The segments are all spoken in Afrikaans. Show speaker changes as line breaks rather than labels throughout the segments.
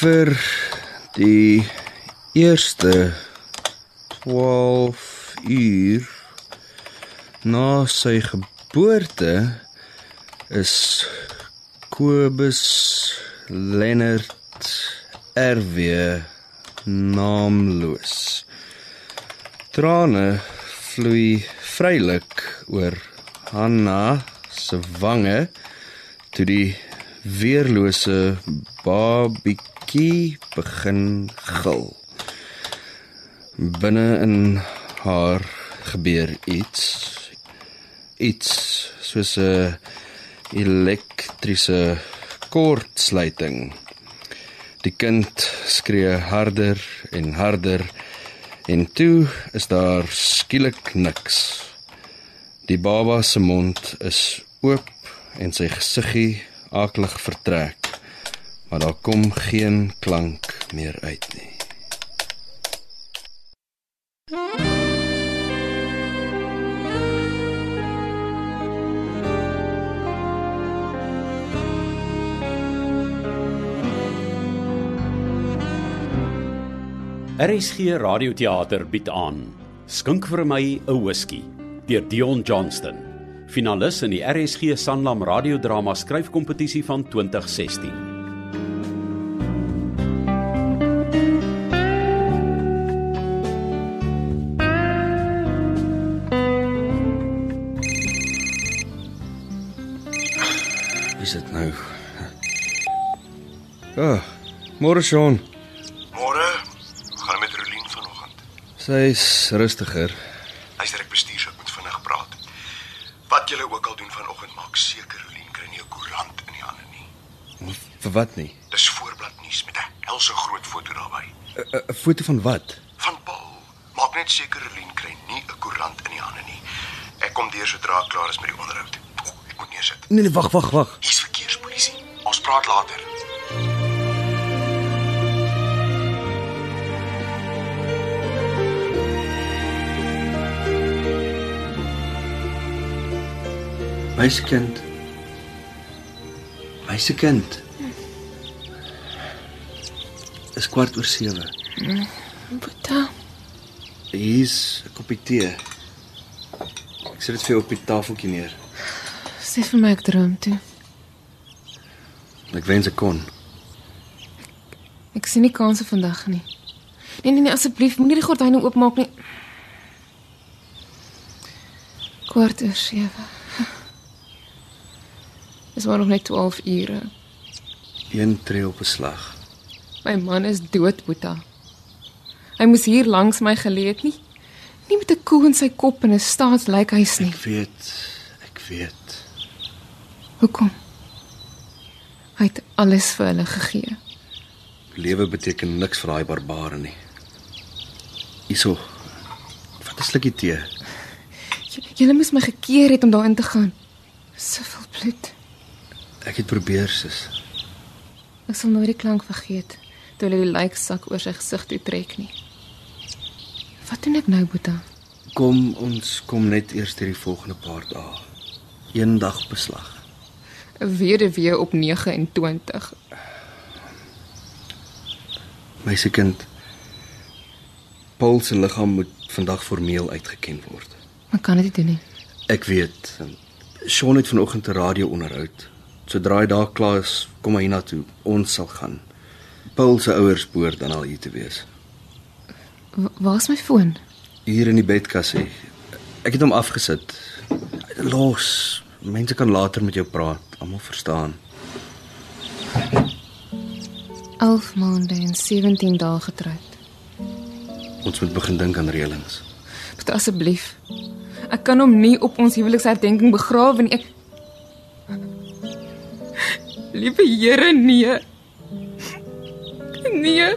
vir die eerste 12 uur na sy geboorte is Kobus Lennard RW naamloos. Trane vloei vrylik oor Hanna se wange toe die weerlose babietjie begin gil. Binne in haar gebeur iets. Iets soos 'n elektriese koordsluiting. Die kind skree harder en harder en toe is daar skielik niks. Die baba se mond is oop en sy gesiggie aklig vertrek, maar daar kom geen klank meer uit nie.
RSG Radioteater bied aan Skink vir my 'n whisky deur Dion Johnston, finalis in die RSG Sanlam radiodrama skryfkompetisie van 2016.
Is dit nou? Ja, oh, môre Sean.
Môre gaan ek met Rolien vanoggend.
Sy's rustiger.
Luister, ek bestuur, so ek moet vinnig praat. Wat julle ook al doen vanoggend, maak seker Rolien kry nie 'n koerant in die hande nie.
Vir wat nie?
Dis voorblad nuus met 'n helse groot foto daarbey.
'n- Eh, 'n- 'n Foto van wat?
Van Paul. Maak net seker Rolien kry nie 'n koerant in die hande nie. Ek kom deur sodra ek klaar is met die onderhoud. O, ek moet neersit.
Nee, nee, wag, wag, wag.
Hier's verkeerspolisie. Ons praat later.
Meisekind. Meisekind. Is kwart oor 7.
Boeta,
Hier's 'n koppie tee. Ek sit dit vir jou op die tafeltjie neer.
sê vir my ek droom toe.
Ek wens ek kon.
Ek sien nie kanse vandag nie. Nee nee nee, asseblief, moenie die gordyne oopmaak nie. Kwart oor 7. Dis maar nog net 12 ure.
Een tree op 'n slag.
My man is dood, Boeta. Hy moes hier langs my geleë het nie. Nie met 'n koe in sy kop en 'n staatslijkhuis nie.
Ek weet, ek weet.
Hoekom? Hy het alles vir hulle gegee.
Lewe beteken niks vir daai barbare nie. Hierso. Vat 'n slukkie tee.
J julle moes my gekeer het om daarin te gaan. Soveel bloed.
Ek het probeer, sis.
Ek sal nooit die klank vergeet toe hulle die lijksak oor sy gesig toe trek nie. Wat doen ek nou, Boeta?
Kom ons kom net eers hierdie volgende paar dae. Eendag beslag.
'n Weduwee op 29.
Meisiekind. Paul se liggaam moet vandag formeel uitgeken word.
Man kan dit nie doen nie.
Ek weet. Sean het vanoggend 'n radio-onderhoud. Sodra hy daar klaar is, kom hy hiernatoe. Ons sal gaan. Paul se ouers behoort dan al hier te wees.
Wa- Waar's my foon?
Hier in die bedkassie. Ek het hom afgesit. Los. Mense kan later met jou praat. Almal verstaan.
11 maande en 17 dae getroud.
Ons moet begin dink aan reëlings.
Boeta asseblief. Ek kan hom nie op ons huweliksherdenking begrawe nie. Ek Liewe Here, nee. Nee.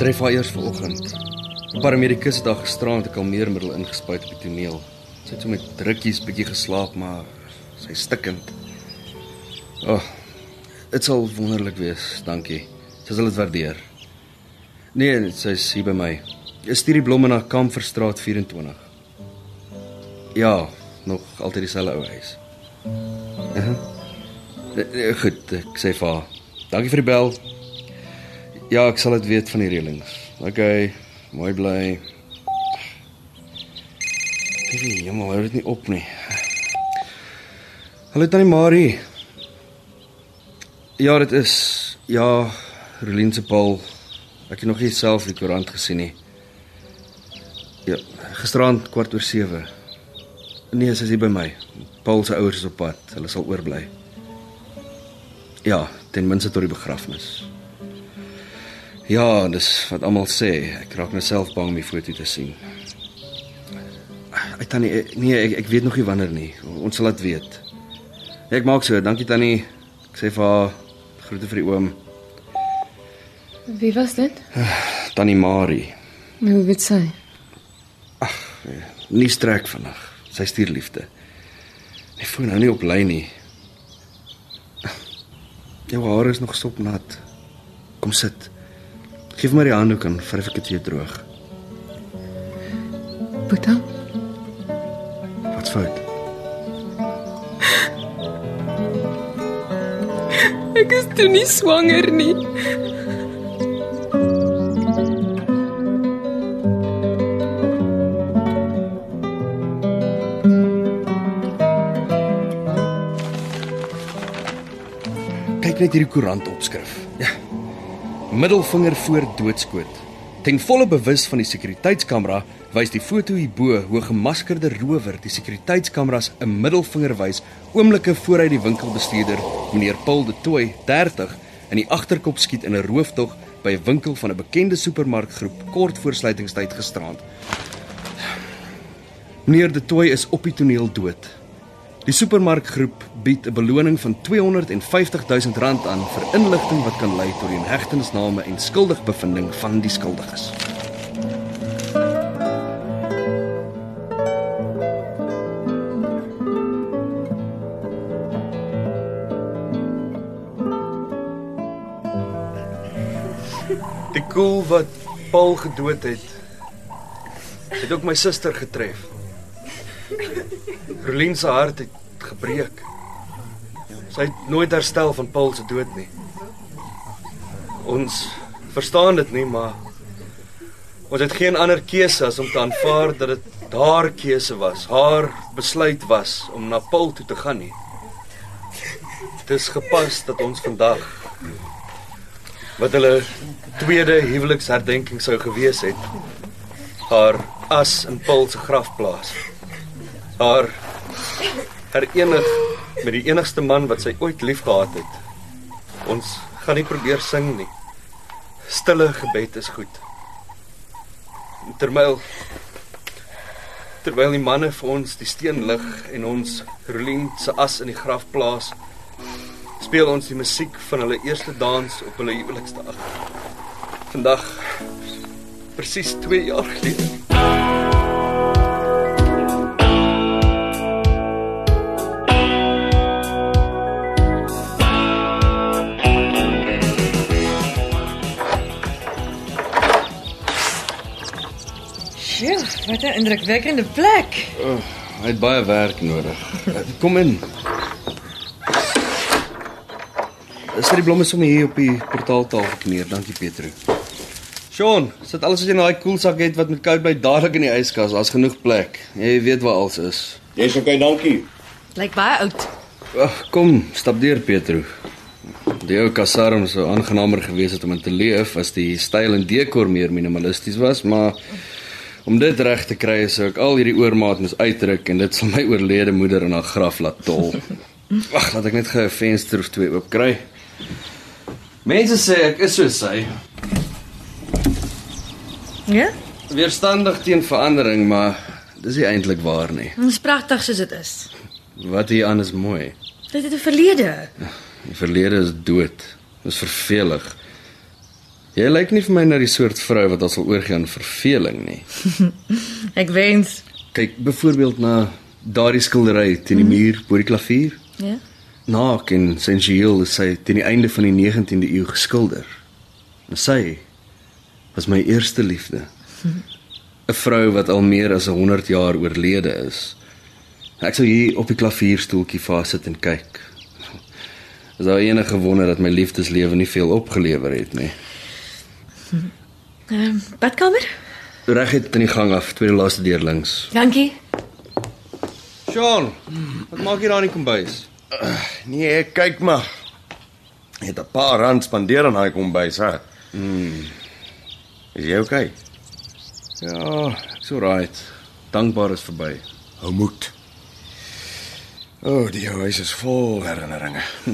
Tref haar eers vanoggend. 'n Paramedikus het haar gisterand 'n kalmeermiddel ingespuit op die toneel. Sy het so met drukkies bietjie geslaap, maar sy is stikkend. Ag, oh, dit sal wonderlik wees, dankie. Sy sal dit waardeer. Nee, sy's hier by my.
Stuur die blomme na Kamferstraat 24. Ja, nog altyd dieselfde ou huis.
Eh,
Uh -huh. Goed, ek sê vir haar. Dankie vir die bel. Ja, ek sal dit weet van die reëlings. Okay, mooi bly. Dit is jammer, hou dit nie op nie. Hallo tannie Marie. Ja, dit is ja, Rolien se Paul. Ek het nog nie self die koerant gesien nie. Ja, gisteraand kwart oor 7. Nee, sy is hier by my. Paul se ouers is op pad. Hulle sal oorbly. Ja, ten minste tot die begrafnis. Ja, dis wat almal sê. Ek raak nou self bang om die foto te sien. Ai tannie, eh, nee, ek, ek weet nog nie wanneer nie. Ons sal dit weet. Ek maak so. Dankie tannie. Ek sê vir haar groete vir die oom,
Wie was dit?
tannie Marie.
Hoe weet sy?
Nie strek vandag. Sy stuur liefde. My foon hou nie op lyn nie. Jou hare is nog sopnat. Kom sit. Geef my die handdoek en vryf ek dit weer droog.
Boeta?
Wat's fout?
Ek is toe nie swanger nie.
Kyk net hierdie koerant opskrif. Ja. Middelvinger voor doodskoot. Ten volle bewus van die sekuriteitskamera wys die foto hierbo hoe 'n gemaskerde rower die sekuriteitskameras 'n middelvinger wys oomblikke voor hy die winkelbestuurder, meneer Paul de Tooy, 30, in die agterkop skiet in 'n rooftog by 'n winkel van 'n bekende supermarkgroep kort voor sluitingstyd gisterand. Meneer De Tooy is op die toneel dood. Die supermarkgroep bied 'n beloning van R250 000 aan vir inligting wat kan lei tot die inhegtenisname en skuldigbevinding van die skuldiges. Die koel wat Paul gedood het, het ook my suster getref. Rolien se hart het gebreek. Sy het nooit herstel van Paul se dood nie. Ons verstaan dit nie, maar ons het geen ander keuse as om te aanvaar dat dit haar keuse was, haar besluit was om na Paul toe te gaan nie. Dit is gepas dat ons vandag wat hulle tweede huweliksherdenking sou gewees het, haar as in Paul se graf plaas haar herenig met die enigste man wat sy ooit liefgehad het. Ons gaan nie probeer sing nie. Stille gebed is goed. Terwyl terwyl die manne vir ons die steen lig en ons Rolien se as in die graf plaas, speel ons die musiek van hulle eerste dans op hulle huweliksdag. Vandag presies 2 jaar gelede.
Sjoe, wat 'n indrukwekkende plek.
Oh, hy het baie werk nodig. Kom in. Is dit die blomme sommer hier op die portaaltafel kneer? Dankie Petro. Sean, sit alles wat jy in daai koelsak het wat met koud bly dadelik in die yskas. Daar's genoeg plek. Jy weet waar alles is.
Dis okay, dankie.
Lyk baie oud.
Ag, kom, stap deur Petro. Die ou kasarm sou aangenamer gewees het om in te leef as die styl en dekor meer minimalisties was, maar om dit reg te kry sou ek al hierdie oormaat moes uitdruk en dit sal my oorlede moeder in haar graf laat tol. Wag, laat ek net gou 'n venster of twee oop kry. Mense sê ek is soos sy,
Ja?
weerstandig teen verandering, maar dis nie eintlik waar nie.
Dit is pragtig soos dit is.
Wat hier aan is mooi.
Dit het 'n verlede.
Die verlede is dood. Dis vervelig. Jy lyk nie vir my na die soort vrou wat as al oorgie aan verveling nie.
Ek wens.
Kyk byvoorbeeld na daardie skildery teen die muur bo die klavier.
Mhm. Ja.
Naak en sensueel is sy teen die einde van die 19de eeu geskilder. En sy was my eerste liefde. 'n vrou wat al meer as 100 jaar oorlede is. Ek sou hier op die klavierstoeltjie vassit en kyk. Is daar enige wonder dat my liefdeslewe nie veel opgelewer het nie.
Ehm badkamer?
Reg het in die gang af, tweede laaste deur links.
Dankie.
Sean, wat maak jy daar in die kombuis?
Nee, ek kyk maar. Jy het 'n paar rand spandeer aan daai kombuis, hè? Mm. Is jy okay?
Ja, it's alright. Dankbaar is verby.
Hou moed. O, oh, die jou huis is vol herinneringe. Hm.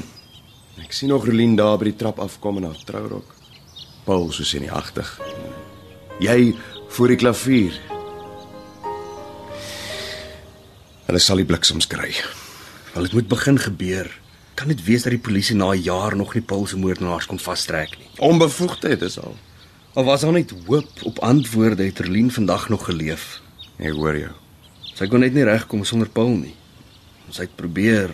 Ek sien nog Rolien daar by die trap afkom in haar trourok. Paul soos in die agtig. Jy voor die klavier. Hulle sal die bliksems kry.
Wel dit moet begin gebeur. Kan dit wees dat die polisie na 'n jaar nog nie Paul se moordenaars kon vastrek nie?
Onbevoegdheid is al.
Of was daar net hoop op antwoorde het Terlien vandag nog geleef?
Ek hoor jou.
Sy kon net nie regkom sonder Paul nie. Sy het probeer.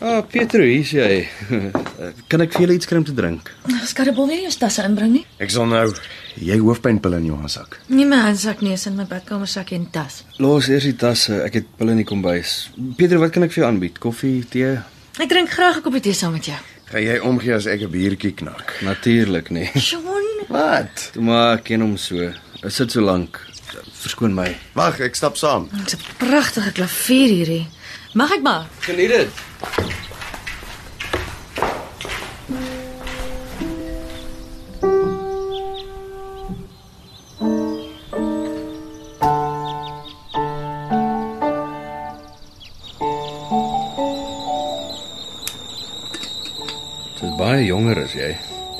Ah, Pietro, hier's jy. Eh, kan ek vir julle iets kry om te drink?
Skarrebol weer jou tasse inbring nie?
Ek sal nou jy hoofpynpil in jou handsak.
Nee, my handsak nie is in my badkamer sakkie en tas.
Los eers die tasse, ek het pille in die kombuis. Pietro, wat kan ek vir jou aanbied? Koffie, tee?
Ek drink graag 'n koppie tee saam met jou.
Gaan jy omgee as ek 'n biertjie knak?
Natuurlik, nee.
Sean,
Wat?
Toe maar ek ken hom so. Hy sit so lank. Verskoon my.
Wag, ek stap saam.
dis 'n pragtige klavier hierdie. Mag ek maar?
Geniet dit. Dis baie jonger as jy.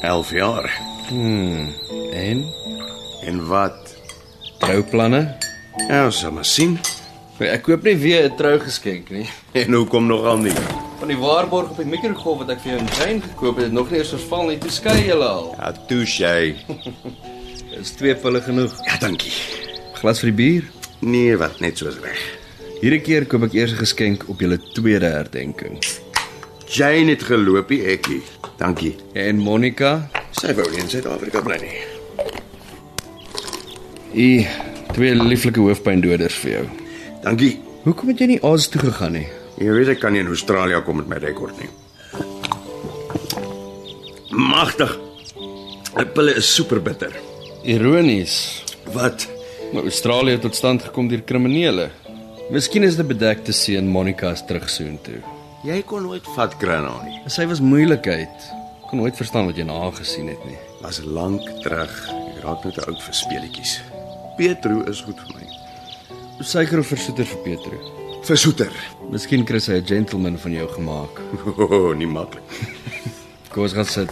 11 jaar. Hmm,
En
En wat?
trouplanne?
Ja, ons sal maar sien.
Ek koop nie weer 'n trou geskenk nie.
En hoekom nogal nie?
Van die waarborg op die mikrogolf wat ek vir jou in Jane gekoop het, het nog nie eens verval nie. Toe skei julle al.
Ja, touche.
Is twee pille genoeg?
Ja, dankie.
Glas vir die bier.
Nee, wat net soos reg.
Hierdie keer koop ek eers 'n geskenk op julle tweede herdenking.
Jane het geloop, die ekkie. Dankie.
En Monica,
Sy wou nie in Suid-Afrika bly nie.
u twee lieflike hoofpyndoders vir jou.
Dankie.
Hoekom het jy nie Oz toe gegaan nie?
Jy weet ek kan nie in Australië kom met my rekord nie. Magtig. Die pille is super bitter.
Ironies,
Wat?
maar Australië het tot stand gekom deur kriminele. Miskien is dit bedekte seën Monica se terugsoen toe.
Jy kon nooit vat krana nie.
Sy was moeilikheid. Kon nooit verstaan wat jy na haar gesien het nie.
Was lank terug. Ek raak net te oud vir speletjies. Petro is goed vir my.
Suiker of versoeter vir Petro.
Versoeter.
Miskien kry sy 'n gentleman van jou gemaak.
Oh, nie maklik.
Kom ons gaan sit.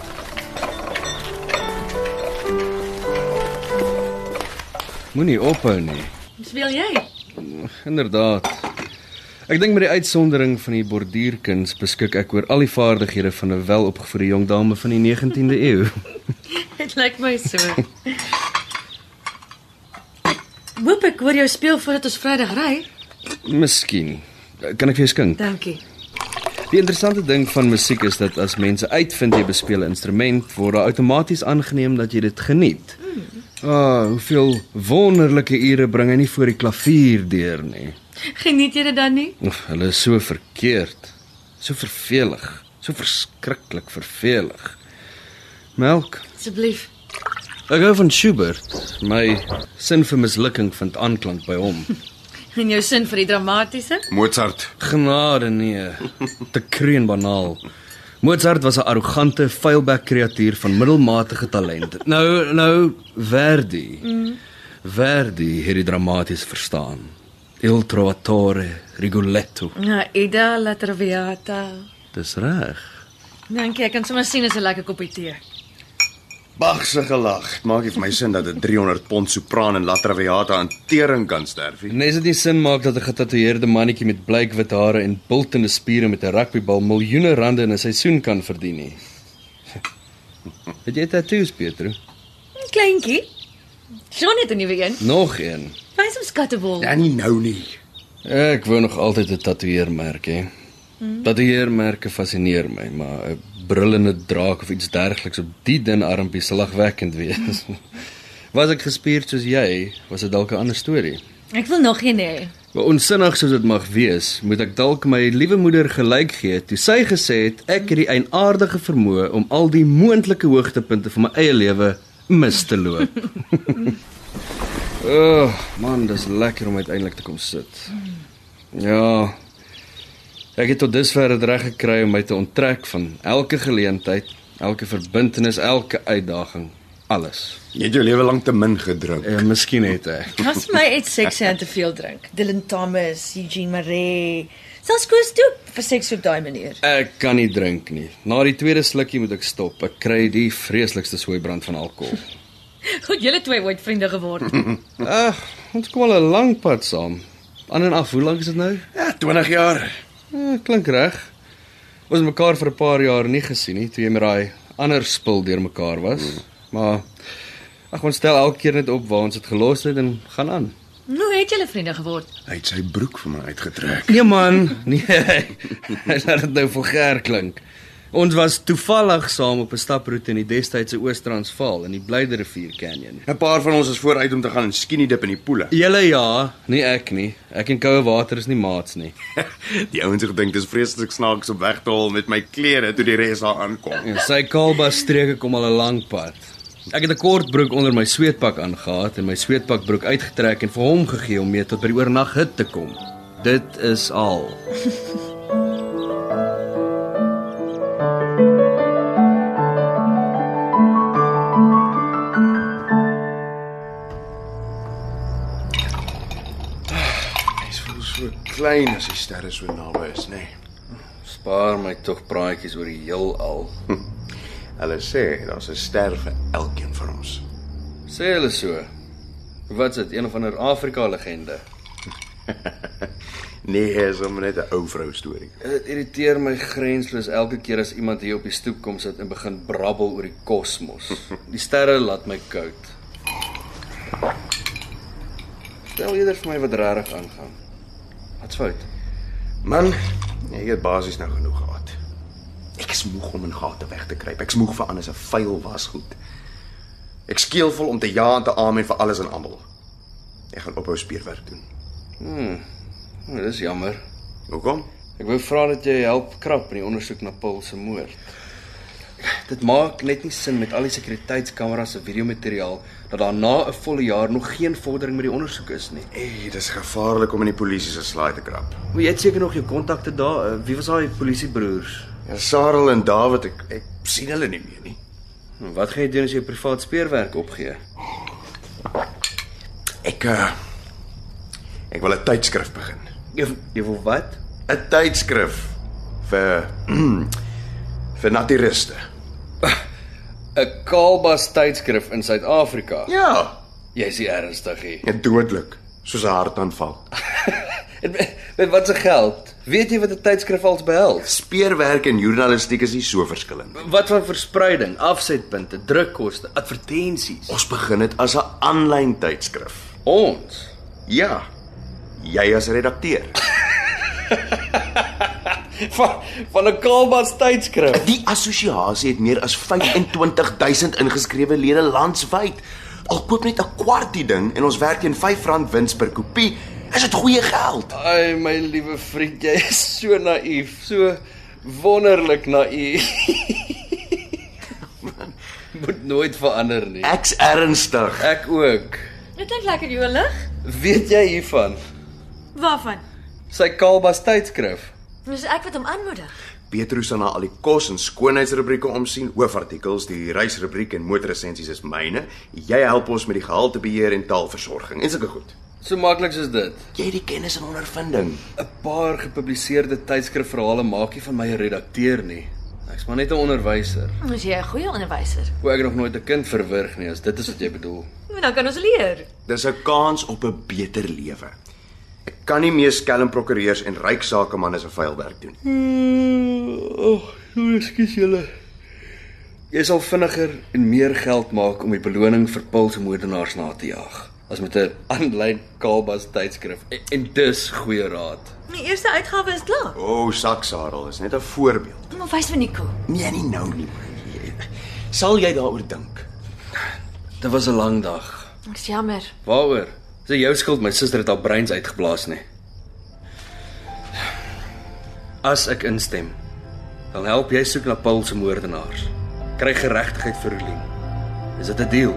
Moenie ophou nie.
Speel jy?
Inderdaad. Ek dink met die uitsondering van die borduurkuns beskik ek oor al die vaardighede van 'n welopgevoede jong dame van die 19de eeu.
Dit lyk my so. Hoop ek hoor jou speel voordat ons Vrydag ry.
Miskien. Kan ek vir jou skink?
Dankie.
Die interessante ding van musiek is dat as mense uitvind jy bespeel 'n instrument, word daar outomaties aangeneem dat jy dit geniet. Ah, hoeveel wonderlike ure bring hy nie voor die klavier deur nie.
Geniet jy dit dan nie?
Oef, hulle is so verkeerd. So vervelig, so verskriklik vervelig. Melk.
Asseblief.
Ek hou van Schubert. My sin vir mislukking vind aanklank by hom.
En jou sin vir die dramatiese?
Mozart.
Genade nee, te kreun banaal. Mozart was 'n arrogante, vuilbek kreatuur van middelmatige talent. Nou nou Verdi. Verdi het dit dramaties verstaan. Il Trovatore, Rigoletto.
Ja, Ida La Traviata.
Dis reg.
Dankie, ek kan sommer sien as 'n lekker koppie tee.
Bach se gelag. Dit Maak nie vir my sin dat 'n 300 pond sopraan en La Traviata aan tering kan sterf nie.
Net as dit nie sin maak dat 'n getatoeëerde mannetjie met bleikwit hare en bultende spiere met 'n rugbybal miljoene rande in 'n seisoen kan verdien nie. Het jy tatoeëers, Pietro?
Kleintjie. Sjoe net 'n nuwe een.
Nog een.
Wys hom skattebol.
Ja, nie nou nie.
Ek wou nog altyd 'n tatoeëermerk hê. Tatoeëermerke fascineer my, maar eh, 'n brullende draak of iets dergeliks op die dun armpie sal lagwekkend wees. Was ek gespierd soos jy, was dit dalk 'n ander storie.
Ek wil nog een hê.
Maar onsinnig soos dit mag wees, moet ek dalk my liewe moeder gelyk gee toe sy gesê het ek het die eienaardige vermoë om al die moontlike hoogtepunte van my eie lewe mis te loop. O, oh, man, dis lekker om uiteindelik te kom sit. Ja. Ek het tot dusver dit reg gekry om my te onttrek van elke geleentheid, elke verbintenis, elke uitdaging, alles.
Jy het jou lewe lank te min gedrink.
Eh, miskien het ek.
Was vir my uit seks en te veel drink. Dylan Thomas, Eugene Maree. Selfs Koos toe vir seks op daai manier.
Ek kan nie drink nie. Na die tweede slukkie moet ek stop. Ek kry die vreeslikste sooibrand van alkohol.
Goed, julle twee ooit vriende geword.
Ag, ons kom al 'n lang pad saam. Aan en af, hoe lank is dit nou?
Ja, 20 jaar.
Eh, klink reg. Ons het mekaar vir 'n paar jaar nie gesien nie, toe jy met daai ander spul deur mekaar was. Maar ag, ons stel elke keer net op waar ons dit gelos het en gaan aan.
Hoe het julle vriende geword?
Hy het sy broek vir my uitgetrek.
Nee man, nee. Laat dit nou vulgêr klink. Ons was toevallig saam op 'n staproete in die destydse Oos-Transvaal in die Blyderivier Canyon.
'n Paar van ons is vooruit om te gaan en skinny dip in die poele.
Julle ja, nie ek nie. Ek en koue water is nie maats nie.
Die ouens het gedink dis vreeslik snaaks om weg te hol met my klere toe die res daar aankom.
En sy kalbas streke kom al 'n lang pad. Ek het 'n kort broek onder my sweetpak aangetree en my sweetpakbroek uitgetrek en vir hom gegee om mee tot by die oornag hut te kom. Dit is al.
Hy's voel so klein as die sterre so naby is, nê. Nee.
Spaar my tog praatjies oor die heelal.
Hulle sê daar's 'n ster vir elkeen van ons.
Sê hulle so. Wat is dit? Een of ander Afrika legende.
Nee, is hom net 'n ou vrou storie.
Dit irriteer my grensloos elke keer as iemand hier op die stoep kom sit en begin brabbel oor die kosmos. Die sterre laat my koud. Stel eerder vir my wat regtig aangaan. Wat's fout?
Man, jy het basies nou genoeg gehad. Ek is moeg om in gate weg te kruip. Ek's moeg vir anders 'n vuil wasgoed. Ek skeelvol om te ja en te amen vir alles en almal. Ek gaan ophou speurwerk doen.
O, oh, dis jammer.
Hoekom?
Ek wou vra dat jy help krap in die ondersoek na Paul se moord. Dit maak net nie sin met al die sekuriteitskameras se videomateriaal dat daar na 'n volle jaar nog geen vordering met die ondersoek is nie.
Ey, dis gevaarlik om in die polisie se slaai te krap.
Maar jy het seker nog jou kontakte daar. Eh, Wie was daai polisiebroers?
Ja, Sarel en David, ek ek sien hulle nie meer nie.
En Nou, Wat gaan jy doen as jy jou privaat speurwerk opgee?
Ek uh, ek wil 'n tydskrif begin.
Jy, jy wil wat?
'n Tydskrif vir vir natuuriste.
'n Kaalbas tydskrif in Suid-Afrika.
Ja,
Jy's nie ernstig nie.
en dodelik, soos 'n hartaanval.
En Met, met wat se geld? Weet jy wat 'n tydskrif als behels?
Speerwerk en journalistiek is nie so verskillend.
Wat van verspreiding, afsetpunte, drukkoste, advertensies?
Ons begin dit as 'n aanlyn tydskrif.
Ons.
Ja. Jy as redakteur.
Van van 'n Kaalbas tydskrif.
Die assosiasie het meer as 25000 ingeskrewe lede landwyd. Al koop net 'n kwart die ding en ons werk teen R5 wins per kopie, is dit goeie geld.
Ai my liewe vriend, jy is so naïef, so wonderlik naïef. Moet nooit verander nie.
Ek's ernstig.
Ek ook.
Dit klink lekker jolig.
Weet jy hiervan?
Waarvan?
Sy Kaalbas tydskrif.
Dis ek wat hom aanmoedig.
Petrus aan al die kos en skoonheidsrubrieke omsien, hoofartikels, die reisrubriek en motorresensies is myne. Jy help ons met die gehaltebeheer en taalversorging en sulke goed.
So maklik soos dit.
Jy het die kennis en ondervinding.
'n Paar gepubliseerde tydskrifverhale maak nie van my 'n redakteur nie. Ek's maar net 'n onderwyser.
Ons jy 'n goeie onderwyser.
Hoe ek nog nooit 'n kind verwrig nie, as dit is wat jy bedoel.
Maar dan kan ons leer.
Dis 'n kans op 'n beter lewe. Ek kan nie meer skelm prokureurs en ryk sakemanne se vuil werk doen.
Oeg, oh, ekskuus julle. Jy sal vinniger en meer geld maak om die beloning vir pulsmoordenaars na te jaag as met 'n aanlyn Kalbas tydskrif. En, en dis goeie raad.
Die eerste uitgawe is klaar.
O, oh, saksadel is net 'n voorbeeld.
Maar wys vir Nico.
Nee, nie nou nie. man. Jy- Sal jy daaroor dink?
Dit was 'n lang dag.
Ek's jammer.
Waaroor? Dis jou skuld my suster het haar breins uitgeblaas nie. As ek instem, dan help jy soek na Paul se moordenaars. Kry geregtigheid vir Rolien. Is dit 'n deal?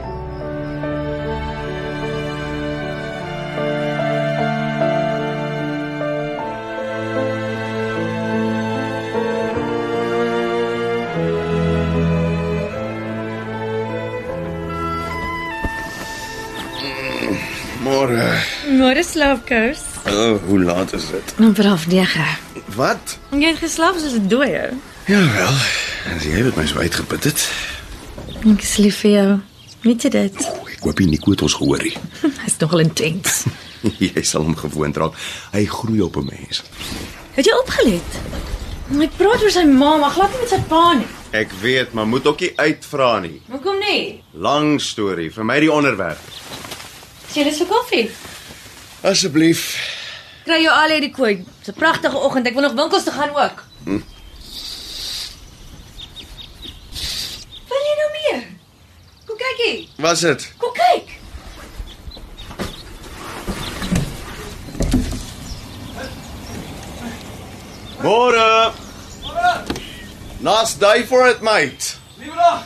Môre.
Môre slaapkous.
Oh, eh, hoe laat is dit?
Nou braaf 9.
Wat?
Jy het geslaap soos 'n dooie.
Ja wel. As jy het my so uitgeput het.
Ek is lief vir jou. Weet jy dit?
O, ek hoop nie Nico het ons gehoor nie.
Hy's nogal intens.
jy sal hom gewoond raak. Hy groei op 'n mens.
Het jy opgelet? Hy praat oor sy ma, maar glad nie met sy pa nie.
Ek weet, maar moet ook nie uitvra nie.
Hoekom nie?
Lang storie, vir my die onderwerp.
Is jy lus vir koffie?
Asseblief.
Kry jou al hierdie kooi. Dis 'n pragtige oggend. Ek wil nog winkels toe gaan ook. Hm. Wil jy nou meer? Kom kyk hier.
Was dit?
Kom kyk.
Môre. Nas day for it, mate.
Nuwe dag.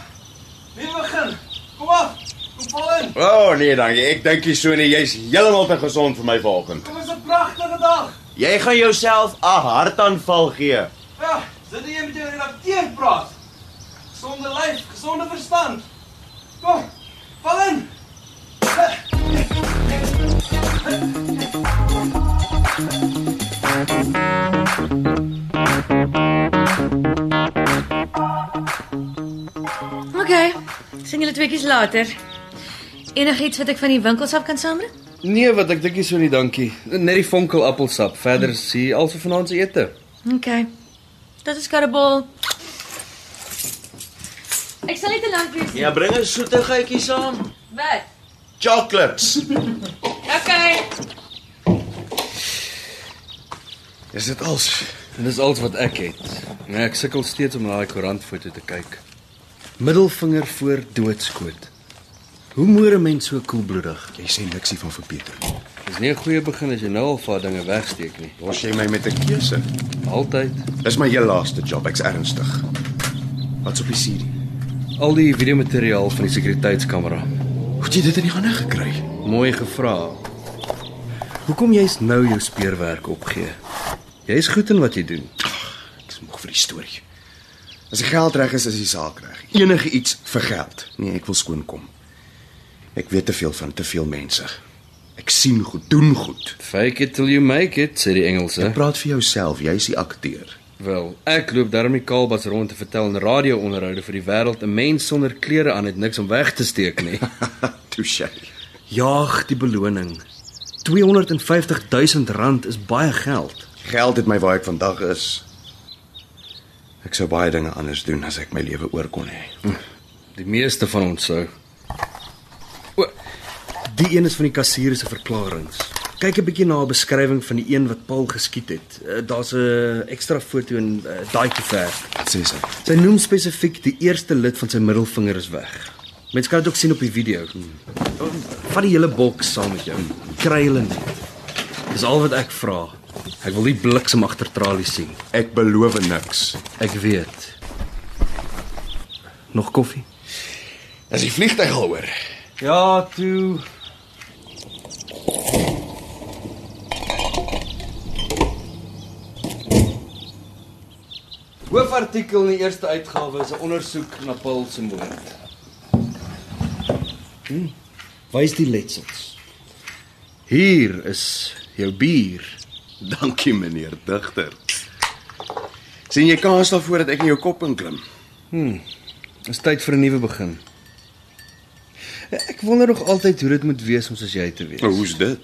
Nuwe begin. Kom af. Kom val in.
O oh, nee, dankie. Ek dink nie so nie. Jy's heeltemal te gesond vir my vanoggend.
Kom is 'n pragtige dag.
Jy gaan jouself 'n hartaanval gee.
Ja, sit jy met jou redakteur praat. Gesonde lyf, gesonde verstand. Kom. Val in.
Okay. Sien julle twee kies later. Enigiets wat ek van die winkels af kan saambring?
Nee, wat ek dink nie so nie, dankie. Net die vonkel appelsap. Verder is hier also vanaand se ete.
Okay. Dit is karabol. Ek sal nie te lank wees nie.
Ja, bring 'n soetigheidjie saam.
Wat?
Chocolates.
Okay.
Is dit als?
En dis al wat ek het. Nee, ek sukkel steeds om na daai koerantfoto te kyk. Middelvinger voor doodskoot. Hoe moer 'n mens so koelbloedig?
Jy sê niks hiervan vir Pieter nie.
Dis nie 'n goeie begin as jy nou al vaar dinge wegsteek nie.
Los jy my met 'n keuse.
Altyd.
Dis my heel laaste job, ek's ernstig. Wat's op die CD?
Al die videomateriaal van die sekuriteitskamera.
Hoe het jy dit in die hande gekry?
Mooi gevra. Hoekom jy's nou jou speurwerk opgee? Jy's goed in wat jy doen.
Ek's moeg vir die storie. As die geld reg is, is die saak reg. Enige iets vir geld. Nee, ek wil skoon kom. Ek weet te veel van te veel mense. Ek sien goed, doen goed.
Fake it till you make it, sê die Engelse.
Ek praat vir jouself, jy's die akteur.
Wel, ek loop daarmee kaalbas rond te vertel in radio-onderhoude vir die wêreld 'n mens sonder klere aan het niks om weg te steek nie.
Touche.
Jaag die beloning. 250 000 rand is baie geld.
Geld het my waar ek vandag is. Ek sou baie dinge anders doen as ek my lewe oor kon hê.
Die meeste van ons sou. O, die een is van die kassier se verklaringe. Kyk 'n bietjie na 'n beskrywing van die een wat Paul geskiet het. Uh, Daar's 'n ekstra foto in uh, daai koevert.
Wat sê sy?
Sy noem spesifiek die eerste lid van sy middelvinger is weg. Mense kan dit ook sien op die video.
Hmm.
Vat die hele boks saam met jou. Kry hulle net. Dis al wat ek vra. Ek wil nie bliksem agter tralies sien.
Ek beloof niks.
Ek weet. Nog koffie?
As die vliegtyg al hoor.
Ja, toe. Hoofartikel in die eerste uitgawe is 'n ondersoek na Paul se moord. Hm. Wys die letsels. Hier is jou bier.
Dankie meneer digter. sien jy kans daarvoor dat ek in jou kop inklim?
Dis tyd vir 'n nuwe begin. Ek wonder nog altyd hoe dit moet wees om soos jy te wees.
hoe's dit?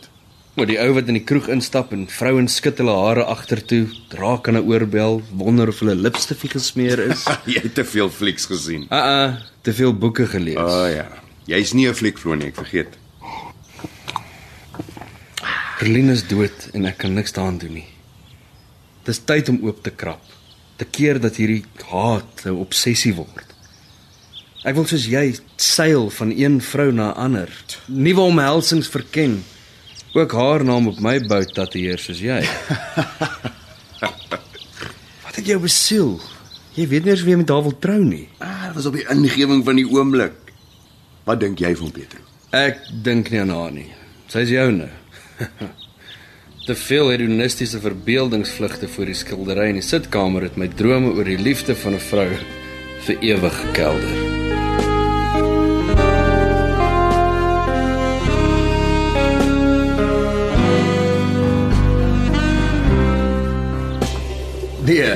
Maar die ou wat in die kroeg instap en vrouens skud hulle hare agtertoe, raak aan 'n oorbel, wonder of hulle lipstifie gesmeer is.
jy het te veel flieks gesien.
Ah, uh, te veel boeke gelees.
O oh, ja. Jy's nie 'n fliekvloer nie, ek vergeet.
Berlin is dood en ek kan niks daaraan doen nie. Dis tyd om oop te krap. Te keer dat hierdie haat 'n obsessie word. Ek wil soos jy seil van een vrou na ander. Nuwe omhelsings verken. Ook haar naam op my bout tatoeëer soos jy. Wat het jou besiel? Jy weet nie eens wie jy met haar wil trou nie.
Ah, dit was op die ingewing van die oomblik. Wat dink jy van Petro?
Ek dink nie aan haar nie. Sy's joune. Te veel hedonistiese verbeeldingsvlugte voor die skildery in die sitkamer het my drome oor die liefde van 'n vrou vir ewig gekelder. Nee,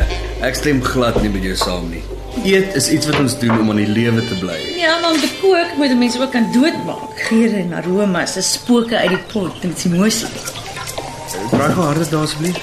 ek stem glad nie met jou saam nie. Eet is iets wat ons doen om aan die lewe te bly.
Ja, maar om te kook moet 'n mens ook aan doodmaak. Geure en aromas, is spooke uit die pot, dit is mooi.
Draai gou harder daar asseblief.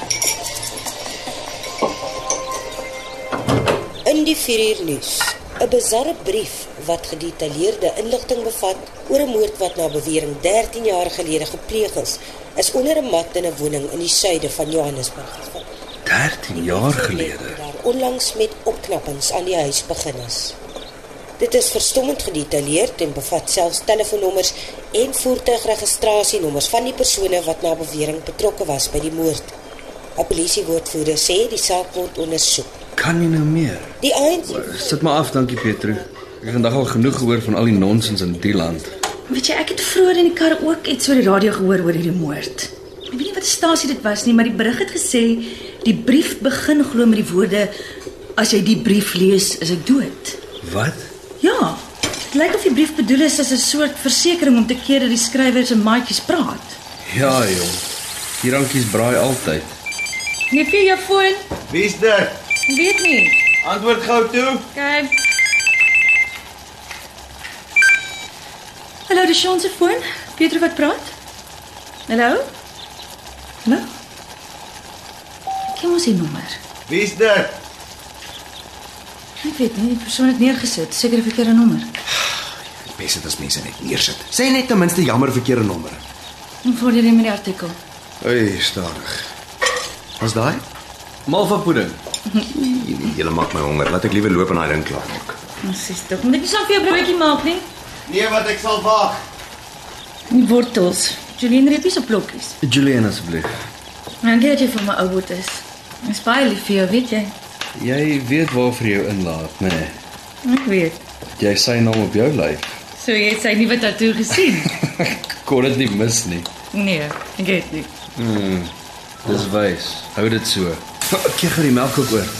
In die 4 uur nuus, 'n bizarre brief wat gedetailleerde inligting bevat oor 'n moord wat na bewering 13 jaar gelede gepleeg is, is onder 'n mat in 'n woning in die suide van Johannesburg gevind.
13 jaar gelede.
Daar onlangs met opknappings aan die huis begin is. Dit is verstommend gedetailleerd en bevat selfs telefoonnommers en voertuigregistrasienommers van die persone wat na bewering betrokke was by die moord. 'n Polisiewoordvoerder sê die saak word ondersoek.
Kan nie nou meer.
Die ANC
Sit maar af, dankie Petro. Ek het vandag al genoeg gehoor van al die nonsens in die land.
Weet jy, ek het vroeër in die kar ook iets oor die radio gehoor oor hierdie moord. Ek weet nie wat stasie dit was nie, maar die berig het gesê die brief begin glo met die woorde as jy die brief lees, is ek dood.
Wat?
Ja. Dit lyk of die brief bedoel is as 'n soort versekering om te keer dat die skrywer se maatjies praat.
Ja, jong. Die rankies braai altyd.
Nee, vir jou foon.
Wie's dit?
Ek weet nie.
Antwoord gou toe.
Kyk. Hallo, dis Sean se foon. Pietro wat praat? Hallo? Hallo? Ek moet sy nommer.
Wie's dit?
Ek weet nie, die persoon het neergesit, seker 'n verkeerde nommer.
Bes dit as mense net neersit. Sê net ten minste jammer verkeerde nommer.
Hoe voel jy met die artikel?
Hey, stadig. Was daai?
Malva pudding.
Jy maak my honger. Laat ek liewer loop en daai ding klaar maak.
Ons sê tog, moet ek nie saam vir jou broodjie maak nie?
Nee, wat ek sal wag.
Die wortels, Julian reepies op blokkies.
Julian asseblief.
Dankie Nou, dat jy vir my ou boet is. Ek is baie lief vir jou, weet jy?
Jy weet waarvoor jy inlaat, né? Nee.
Ek weet.
Jy sy naam op jou lyf.
So jy het sy nuwe tatoe gesien?
Kon dit nie mis nie. Hmm,
nee, ek het nie.
Dis wys. Hou dit so. Ek gee gou die melk ook oor.